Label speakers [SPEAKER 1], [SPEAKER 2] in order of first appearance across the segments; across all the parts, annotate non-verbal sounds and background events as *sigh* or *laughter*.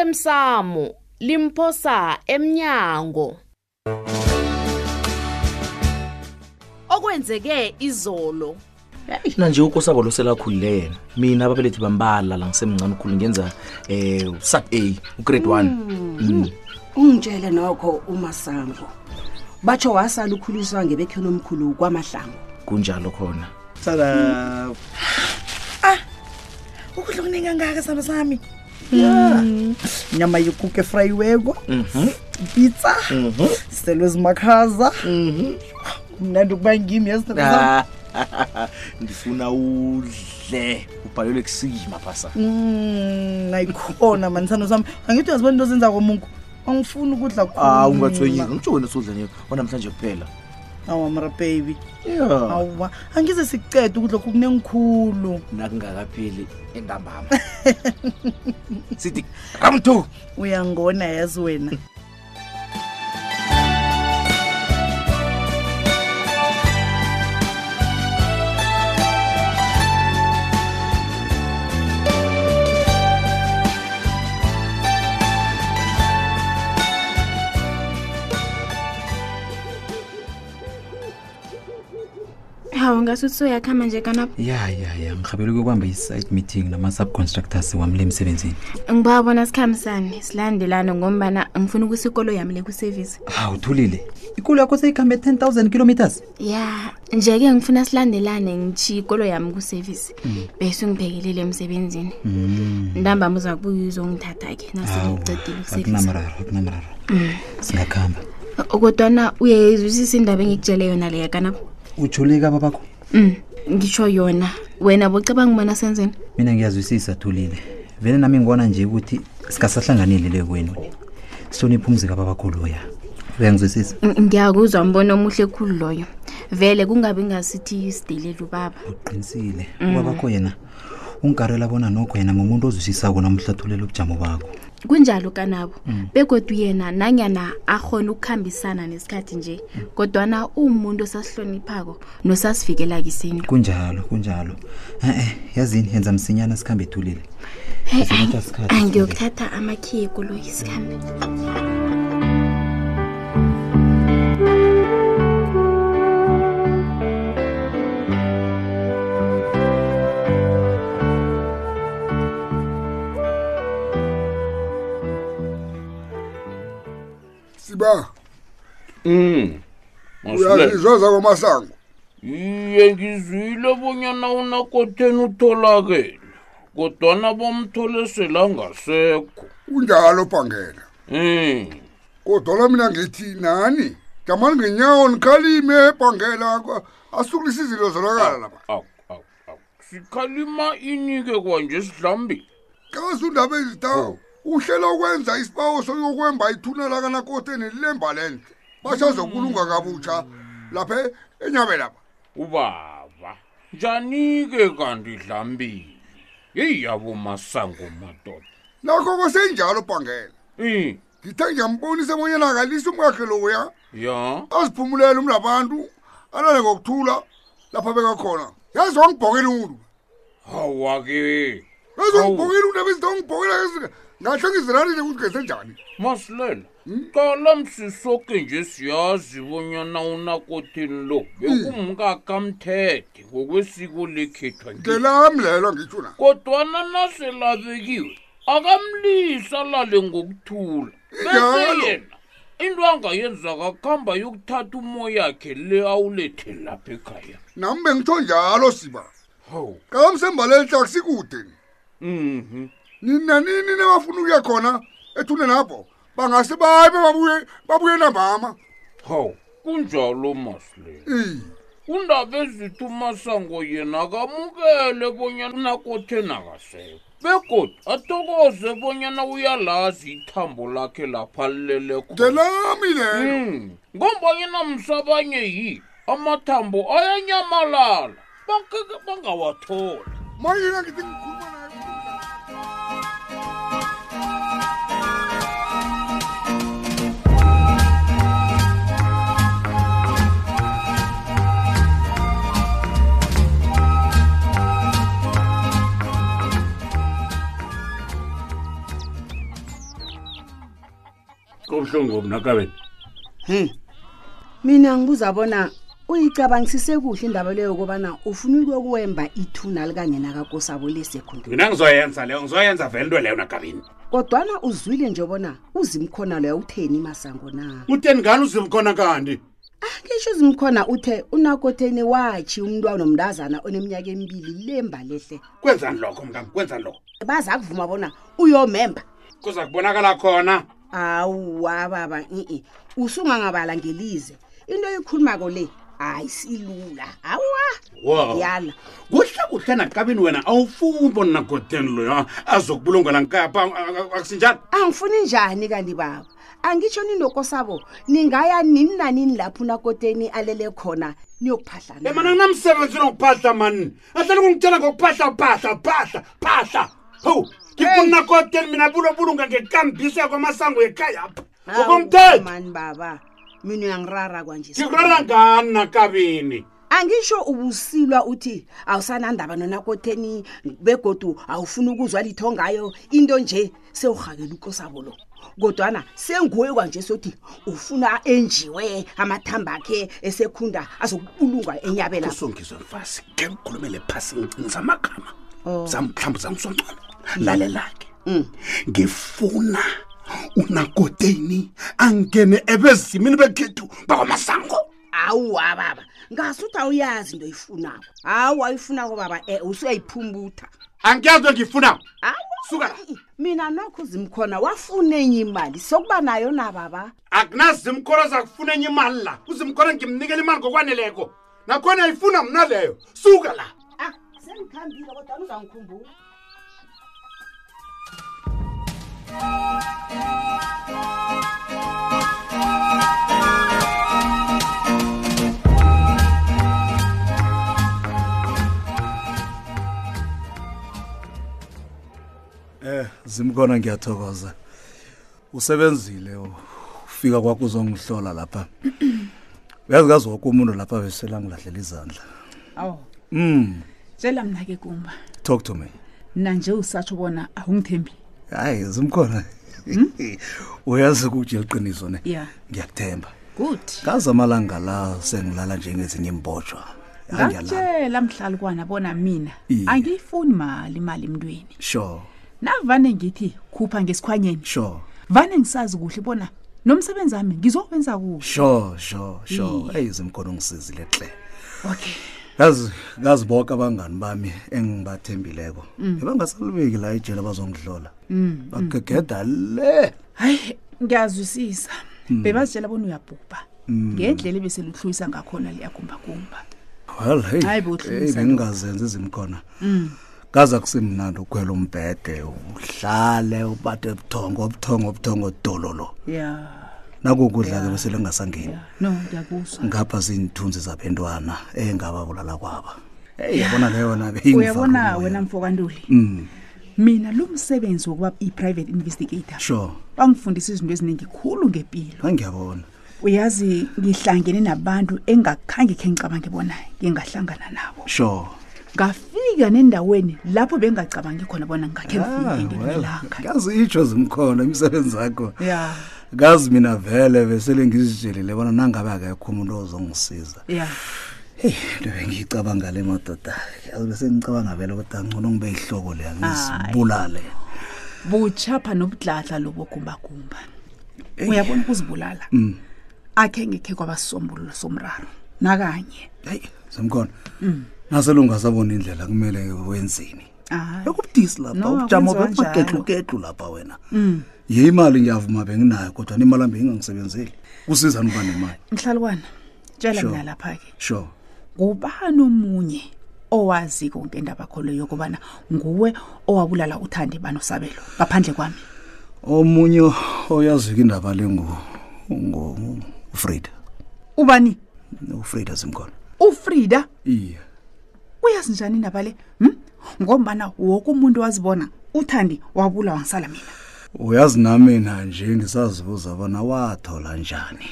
[SPEAKER 1] osemsamo limphosa emnyango okwenzeke izolo
[SPEAKER 2] yena nje ukosabo loselakhulile yena mina ababelethi bambala la ngisemncane ukhulu ngenza um sub a ugrade one Mm.
[SPEAKER 3] ungitshele nokho umasango batsho wasala ukhuliswa ngebekheni omkhulu kwamahlango
[SPEAKER 2] kunjalo khona
[SPEAKER 4] Sada.
[SPEAKER 5] ukudla okuningi angaka sihamba sami
[SPEAKER 4] Nyama yekuke frayiweko. Pizza. Selo zimakhaza. Mnandi ukuba ngimi yesithathu.
[SPEAKER 2] Ah, *laughs* ndifuna udle ubhalelwe kusima phasa
[SPEAKER 4] Mm, Nayikhona manisano sami. Angithi uyazibona into ozenza komunku. Angifuni ukudla kukhulu.
[SPEAKER 2] aw
[SPEAKER 6] Mm.
[SPEAKER 2] ungathwenyeki ngitsho wena sudla wanamhlanje kuphela
[SPEAKER 4] Awa mara baby.
[SPEAKER 2] ya
[SPEAKER 4] Awa, angize sicede ukudla kokunengikhulu.
[SPEAKER 2] nakungakapheli entambama sithi round two
[SPEAKER 4] Uyangona yazi wena.
[SPEAKER 7] hawu ngasuthi uyakuhamba nje kanabo
[SPEAKER 8] ya ya ya ngihabele ukuyokubamba i-site meeting nama-subcontractors wami le msebenzini
[SPEAKER 7] ngibabona sikhambisane silandelane ngombana ngifuna ukuthi ikolo yami le kusevisi
[SPEAKER 8] hawu thulile ikulu yakho seyihambe 10 000 kilometers
[SPEAKER 7] ya nje-ke ngifuna silandelane ngitshiye ikolo yami kusevisi bese ungibhekelele emsebenzini ntambami uza kubuya uzongithatha-ke naselicedile ukusevisi
[SPEAKER 8] akunamraro akunamraro singakuhamba
[SPEAKER 7] kodwana uyayizwisisa indaba engikutshele yona leya kanabo
[SPEAKER 8] ujoleki aba bakho
[SPEAKER 7] um ngitsho yona wena bocabanga ubona senzeni
[SPEAKER 8] mina ngiyazwisisa thulile vele nami ngibona nje ukuthi singasahlanganile le kwenu sihloniphe umzi kababakho loya uyangizwisisa
[SPEAKER 7] Ng- ngiyakuzwa mbono omuhle khulu loyo vele kungabe ngasithi sidelele ubaba
[SPEAKER 8] uqinisile ubabakho yena ungikarela bona nokho yena mumuntu ozwisisako namhlathulela ubujamo bakho
[SPEAKER 7] kunjalo kanabo begodwa yena nanyana akhona ukukhambisana nesikhathi nje kodwana umuntu osasihloniphako nosasivikela kisinto
[SPEAKER 8] kunjalo kunjalo e-e yazini yenza msinyana sikhambe ethulile Sizokuthatha isikhathi,
[SPEAKER 7] angiyokuthatha amakhiye kuloyi isikhambe
[SPEAKER 9] siba
[SPEAKER 10] Mm. Masilela.
[SPEAKER 9] uyazizwa zakwamasango
[SPEAKER 10] Iye ngizwile bonyana unakoteni utholakele. Kodwana bomthole selangasekho.
[SPEAKER 9] kunjalo phangela
[SPEAKER 10] Mm.
[SPEAKER 9] kodwa mina ngithi nani jamani ngenyawo nikhalime phangela ko- asukulisa izinto zonakala lapha
[SPEAKER 10] Aw, aw, aw. Sikhalima inike kwanje sidlambi.
[SPEAKER 9] kazi undaba
[SPEAKER 10] Oh.
[SPEAKER 9] ezitawo uhlela ukwenza isibawo soyokwemba ithuna lakanakoteni lilemba lenhle bashazokulunga kabutsha lapha enyabe lapha
[SPEAKER 10] Ubaba. Njanike kanti dlambi. Yeyabo masango madoda.
[SPEAKER 9] nakho kosenjalo phangela
[SPEAKER 10] Eh.
[SPEAKER 9] ngithe ngiyambonisa ebonyana akalisa umkakhe loya
[SPEAKER 10] Ya.
[SPEAKER 9] aziphumulela umlabantu alale ngokuthula lapha bekakhona yazi wangibhokela umuntu
[SPEAKER 10] Hawake.
[SPEAKER 9] ezongibhokile umuntu abezitongibhokela ngahle ngizilalile ukuthi ngesenjani
[SPEAKER 10] masilela qala msisoke nje siyazi bonyana unakotini lo bekumkakamthethe ngokwesiko lekhethwa nje
[SPEAKER 9] ngelami lelo ngitsho na
[SPEAKER 10] kodwana naselabekiwe akamlisi alale ngokuthula
[SPEAKER 9] Njalo.
[SPEAKER 10] bese yena into angayenza kakuhamba yokuthatha umoyakhe le awulethe lapha ekhaya
[SPEAKER 9] nami bengitsho njalo siba
[SPEAKER 10] hawu
[SPEAKER 9] kamsembaleni hla kusikude
[SPEAKER 10] mhm
[SPEAKER 9] ninanini nabafuna ukuya khona ethune napho bangase baye babuye babuye nambama
[SPEAKER 10] hawu kunjalo masilela
[SPEAKER 9] i
[SPEAKER 10] undaba ezithi umasango yena kamukele bonyana unakotheni akasekho begodwa athokoze bonyana uyalazi ithambo lakhe lapha lilelekho
[SPEAKER 9] ngelami lelo
[SPEAKER 10] Mm, ngombanyana msabanye yi amathambo ayanyamalala bangeke bangawathola
[SPEAKER 9] manje nangithi ngikhuluma naye
[SPEAKER 11] kobuhlungu mnakabeni
[SPEAKER 3] he mina ngibuza bona uyicabangisise kuhle indaba leyo kobana ufuna ukuyokuwemba ithuna likangena kakosabo lesekhundu
[SPEAKER 11] mina ngizoyenza leyo ngizoyenza vele into leyo nakabeni
[SPEAKER 3] kodwana uzwile nje bona uzimkhona loya utheni masango na
[SPEAKER 11] utheni ngani uzimkhona kanti
[SPEAKER 3] ngisho uzimkhona uthe unakotheni wachi umntwana omntazana oneminyaka emibili lemba lehle
[SPEAKER 11] kwenzani lokho mngam kwenzani lokho
[SPEAKER 3] baza kuvuma bona uyomemba
[SPEAKER 11] kuza kubonakala khona
[SPEAKER 3] awuwa baba i-i usungangabala ngelize into eyikhulumako le hayi silula
[SPEAKER 11] Wow.
[SPEAKER 3] awa yala
[SPEAKER 11] kuhle kuhle nakabeni wena awufuni bona nakoteni loyo azokubulungana nkapha akusinjani
[SPEAKER 3] angifuni njani kanti baba angitsho ninoko sabo ningaya nini nanini lapho unakoteni alele khona
[SPEAKER 11] ye
[SPEAKER 3] niyokuphahlana
[SPEAKER 11] mana nginamsebenzi nokuphahla mani ahlale kungitshela ngokuphahla phahla phahla phahla ho ngikunakoteni mina bulobulunga ngekambiso yakwamasango yekhayapha ngokomthetho
[SPEAKER 3] mani baba mina uyangirara kwanje
[SPEAKER 11] ngikurara ngani nakabeni
[SPEAKER 3] angisho ubusilwa uthi awusanandaba nonakotheni begodu awufuni ukuzwa litho ngayo into nje sewurhakela ukosabo lo kodwana senguwe kwanje sothi ufuna enjiwe amathamba akhe esekhunda azokubulungwa enyabela
[SPEAKER 11] usongizwe mfazi ke ngikhulumele phasi ngicinisa amagama mhlawumbi zamsongcono lalelake ngifuna unakoteni angene ebezimini bekhethu bakwamasango
[SPEAKER 3] awuwa baba ngasuthi awuyazi into oyifunako hawu ayifunako baba e usuyayiphumbuta
[SPEAKER 11] angiyazi engifuna suka la
[SPEAKER 3] mina nokho zimkhona wafuna enye imali sokuba nayo na baba
[SPEAKER 11] akunazimkhona zakufuna enye imali la uzimkhona ngimnikela imali ngokwaneleko nakhona ayifuna mna leyo suka la
[SPEAKER 3] sengikhambile kodwana uzangikhumbula
[SPEAKER 12] Eh zimkona ngiyathokoza. Usebenzile u- ufika kwakho uzongihlola lapha. Uyazi kazi wonke umuntu lapha besela ngilahlela izandla.
[SPEAKER 6] awu
[SPEAKER 12] Mm,
[SPEAKER 6] tshela mna-ke kumba
[SPEAKER 12] talk to me.
[SPEAKER 6] mna nje usatsho bona awungithembi Hmm?
[SPEAKER 12] Hayi zimkona. *laughs* Uyazi ukuthi iqiniso ne.
[SPEAKER 6] ya
[SPEAKER 12] Ngiyakuthemba.
[SPEAKER 6] good
[SPEAKER 12] Kaza amalanga la sengilala njengezinye imbotshwa. Hayi, ngiyalala.
[SPEAKER 6] ngakutshela mhlalukwana bona mina
[SPEAKER 12] Iye.
[SPEAKER 6] angiyifuni mali mali emntweni
[SPEAKER 12] Sure.
[SPEAKER 6] navane ngithi khupha ngesikhwanyeni
[SPEAKER 12] sure
[SPEAKER 6] vane ngisazi kuhle bona nomsebenzi wami ngizowenza kuhle
[SPEAKER 12] Sure, sure, sure.
[SPEAKER 6] Iye.
[SPEAKER 12] Hey zimkona ungisizile hle.
[SPEAKER 6] okay
[SPEAKER 12] Yazi yazi bonke abangani bami engibathembileko.
[SPEAKER 6] Mm.
[SPEAKER 12] Ebangasalubeki la ejele bazongidlola.
[SPEAKER 6] Mm, mm,
[SPEAKER 12] Bagegeda le.
[SPEAKER 6] hayi ngiyazwisisa
[SPEAKER 12] Mm.
[SPEAKER 6] bebazitshela bona uyabhubha
[SPEAKER 12] Mm.
[SPEAKER 6] ngendlela ebeseluhluyisa ngakhona leyagumbagumba
[SPEAKER 12] Well, hey.
[SPEAKER 6] Hayi bo,
[SPEAKER 12] hey,
[SPEAKER 6] hlumisa
[SPEAKER 12] bengingazenzi izimkhona.
[SPEAKER 6] mm.
[SPEAKER 12] Kaza kusimnandi ukhwela umbhede, uhlale, ubade ubuthongo, ubuthongo, ubuthongo dololo.
[SPEAKER 6] ya
[SPEAKER 12] Nakukudla ke bese lengasangeni.
[SPEAKER 6] no ngiyakuzwa
[SPEAKER 12] Ngapha zintunzi zabantwana engababulala kwaba. Hey,
[SPEAKER 6] Yeah.
[SPEAKER 12] yabona leyo na
[SPEAKER 6] uyabona wena mfokantuli
[SPEAKER 12] Mm,
[SPEAKER 6] mina lo msebenzi wokuba i-private investigator
[SPEAKER 12] sure.
[SPEAKER 6] wangifundisa izinto eziningi khulu ngempilo
[SPEAKER 12] Ngiyabona.
[SPEAKER 6] uyazi ngihlangene nabantu engakhange khe ngicabange bona ngingahlangana nabo
[SPEAKER 12] Sure.
[SPEAKER 6] ngafika nendaweni lapho bengingacabangi khona bona ngakhe
[SPEAKER 12] Ah,
[SPEAKER 6] ngifike ngelinye
[SPEAKER 12] well,
[SPEAKER 6] ilanga.
[SPEAKER 12] Ngazi itsho zimkhona imisebenzi yakho.
[SPEAKER 6] ya
[SPEAKER 12] kazi mina vele besele ngizitshelile bona nangabe akekho umuntu ozongisiza
[SPEAKER 6] ya
[SPEAKER 12] into bengiyicabanga le madoda yazi besengicabanga vele ukuthi angcono ngibe yihloko leya
[SPEAKER 6] Hayi.
[SPEAKER 12] ngizibulale
[SPEAKER 6] butshapha nobudladla lobogumbagumba
[SPEAKER 12] Eyi.
[SPEAKER 6] uyabona ukuzibulala
[SPEAKER 12] Mm,
[SPEAKER 6] akhe ngekhe kwabasombululo somraro nakanye
[SPEAKER 12] zimkhona
[SPEAKER 6] Mm.
[SPEAKER 12] naselungasabona indlela kumele wenzeni
[SPEAKER 6] ekubudisi
[SPEAKER 12] lapha ubujamo bebugedlugedlu lapha wena
[SPEAKER 6] Mm.
[SPEAKER 12] ye imali ngiyavuma benginayo kodwa imali ambe ingangisebenzeli kusizani uba nemali
[SPEAKER 6] mhlalukwana tshela
[SPEAKER 12] Sure.
[SPEAKER 6] mina lapha-ke
[SPEAKER 12] sure
[SPEAKER 6] ngubani omunye owaziko ngendaba kholo yokubana nguwe owabulala uthande banosabelo ngaphandle kwami
[SPEAKER 12] omunye oyazika indaba le ngu- ngu- ufrida
[SPEAKER 6] ubani
[SPEAKER 12] ufrida zimkhona
[SPEAKER 6] ufrida
[SPEAKER 12] iye
[SPEAKER 6] uyazi njani indaba le hm? ngombana woke umuntu wazibona uthandi wabulawa ngisala mina
[SPEAKER 12] uyazi nami na nje ngisazibuza bona wathola njani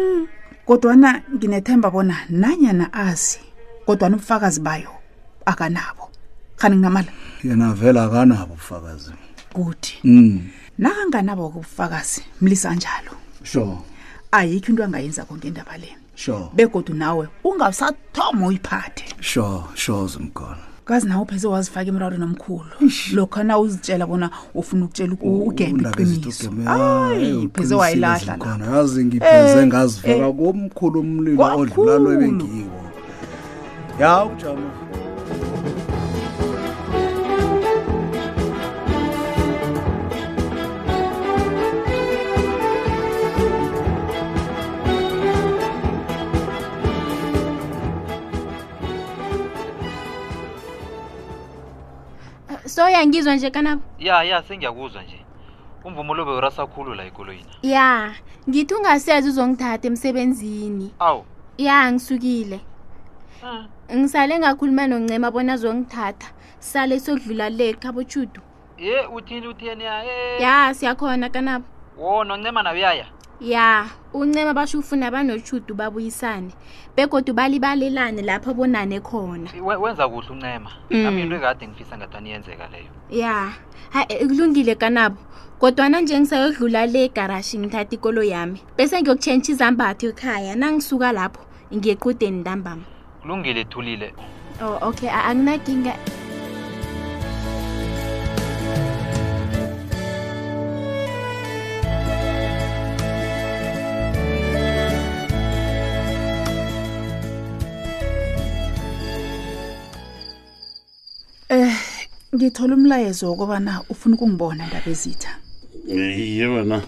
[SPEAKER 6] mm. kodwana nginethemba bona nanyana azi kodwana ubufakazi bayo akanabo khani nginamala
[SPEAKER 12] yena vele akanabo ubufakazi
[SPEAKER 6] kuthi
[SPEAKER 12] mm.
[SPEAKER 6] nakanganaba kobufakazi mlisa njalo
[SPEAKER 8] sure
[SPEAKER 6] ayikho into angayenza konke indaba le
[SPEAKER 12] sure
[SPEAKER 6] begodu nawe ungasathoma uyiphathe
[SPEAKER 12] sure sure zimkhona
[SPEAKER 6] kazi nawe pheze wazifaka emrawuleni omkhulu lokho na uzitshela bona ufuna ukutshela u- ugembe
[SPEAKER 12] Undaba ezithi
[SPEAKER 6] iqiniso
[SPEAKER 12] ugeme-
[SPEAKER 6] Ayi,
[SPEAKER 12] Hayi,
[SPEAKER 6] pheze
[SPEAKER 12] uqinisile
[SPEAKER 6] wayilahla
[SPEAKER 12] Zimkhona. yazi ngiphenze
[SPEAKER 6] Eh,
[SPEAKER 12] ngazifaka
[SPEAKER 6] eh.
[SPEAKER 12] komkhulu umlilo odlula lo ebengiwo ya ujama
[SPEAKER 7] so yangizwa nje kanabo
[SPEAKER 13] ya ya sengiyakuzwa nje umvumo lo bewurasakhulu la ekoloyini
[SPEAKER 7] ya ngithi ungaseza uzongithatha emsebenzini
[SPEAKER 13] awu
[SPEAKER 7] ya ngisukile ngisale ngakhuluma noncema bona azongithatha sale sokudlula le khabochudu
[SPEAKER 13] ye uthini uthini ya eh.
[SPEAKER 7] ya siyakhona kanabo
[SPEAKER 13] wo noncema nawe yaya
[SPEAKER 7] ya uncema basho ufuna banochudu babuyisane begodu balibalelane lapho bonane khona
[SPEAKER 13] We- wenza kuhle uncema
[SPEAKER 7] Mm.
[SPEAKER 13] nami into ekade ngifisa ngathani yenzeka leyo
[SPEAKER 7] ya ha e, kulungile kanabo kodwana nje ngisayodlula le garashi ngithatha ikolo yami bese ngiyokutshentshi izambatho ekhaya nangisuka lapho ngiyequdeni ntambama
[SPEAKER 13] kulungile ethulile
[SPEAKER 7] oh, okay a- anginakinga
[SPEAKER 6] eh ngithola umlayezo wokubana ufuna ukungibona ndaba ezitha
[SPEAKER 14] iye wena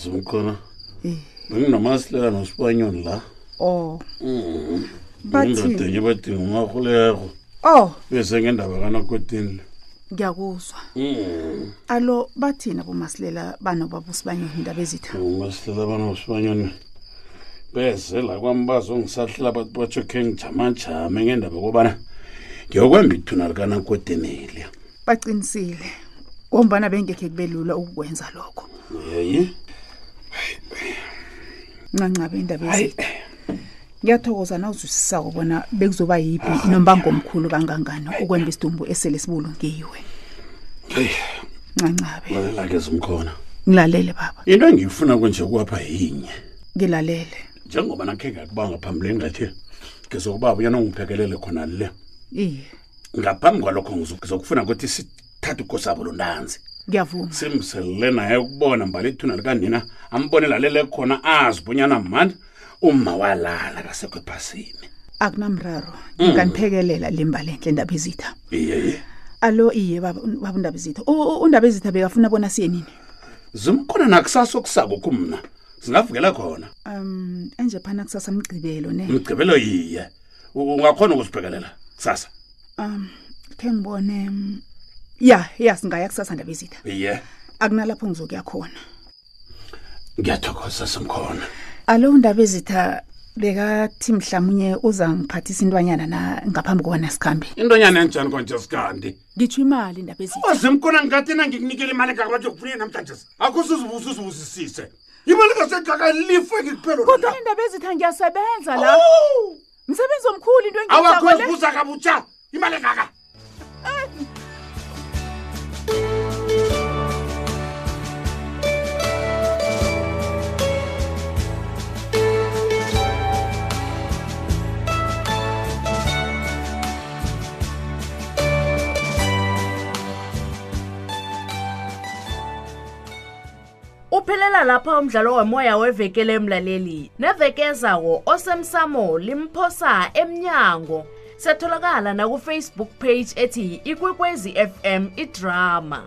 [SPEAKER 14] zimkhona
[SPEAKER 6] Eh.
[SPEAKER 14] benginamasilela nosipanyoni la
[SPEAKER 6] oh
[SPEAKER 14] Mhm.
[SPEAKER 6] Bathini?
[SPEAKER 14] indodenye badinga umarhuleko
[SPEAKER 6] oh
[SPEAKER 14] bese ngendaba kanakotini
[SPEAKER 6] ngiyakuzwa
[SPEAKER 14] le
[SPEAKER 6] alo bathina bomasilela banobabusibanyoni indaba ezitha
[SPEAKER 14] umasilela banosipanyoni beze la kwambazo ngisahlala bathi batsho khe ngijamajame ngendaba kobana ngiyokwemba ithuna likanakotinile
[SPEAKER 6] baqinisile ngombana bengekhe kube lula ukukwenza lokho
[SPEAKER 14] yeyi
[SPEAKER 6] ncancabe indaba ezitha ngiyathokoza nawuzwisisako bona bekuzoba yiphi nombango omkhulu kangangani ukwemba isidumbu esele sibulungiwe ncancabe
[SPEAKER 14] lalela-ke zimkhona
[SPEAKER 6] ngilalele baba
[SPEAKER 14] into engiyifuna kunje kwapha yinye
[SPEAKER 6] ngilalele
[SPEAKER 14] njengoba nakhe ngakubanga phambileni ngathi ngizokubaba uyena ungiphekelele khona le
[SPEAKER 6] iye
[SPEAKER 14] ngaphambi kwalokho ngizo- ngizokufuna ukuthi sithathe ukosabo lontanzi
[SPEAKER 6] ngiyavuma
[SPEAKER 14] simselele naye ukubona mbala ithuna likanina ambone lalele khona azi bunyana mani uma walala kasekho ephasini
[SPEAKER 6] akunamraro
[SPEAKER 14] Mm.
[SPEAKER 6] ngikaniphekelela limba lenhle ndaba ezitha
[SPEAKER 14] iye
[SPEAKER 6] alo iye baba baba undaba ezitha U- u- undaba ezitha bekafuna bona siye nini
[SPEAKER 14] zimkhona nakusasa okusako kumna singavukela khona
[SPEAKER 6] um enje phana kusasa mgqibelo
[SPEAKER 12] Mm.
[SPEAKER 6] ne
[SPEAKER 14] mgqibelo yiye U- ungakhona ukusibhekelela kusasa
[SPEAKER 6] um khe ngibone mm, ya ya singaya kusasa ndaba ezitha
[SPEAKER 14] iye
[SPEAKER 6] akunalapho ngizokuya khona
[SPEAKER 14] ngiyathokoza simkhona
[SPEAKER 6] alo undaba ezitha bekathi mhlawumnye uza ngiphathisa intwanyana na ngaphambi kobana sikhambe
[SPEAKER 14] intonyana enjani konje sikandi Oh,
[SPEAKER 6] ngitsho imali ndaba ezitha
[SPEAKER 11] ozimkhona ngikathina ngikunikela imali engakabathi yokufuneka namhlanje akho sizibusa uzibusisise imali kasekakalife ngikuphelo
[SPEAKER 5] kodwa indaba ezitha ngiyasebenza la msebenzi omkhulu into
[SPEAKER 11] awakho zibusa kabutsha imali engaka
[SPEAKER 1] uphelela lapha umdlalo womoya wevekele emlaleli neveke ezawo osemsamo limphosa emnyango setholakala nakufacebook page ethi ikwekwezi fm idrama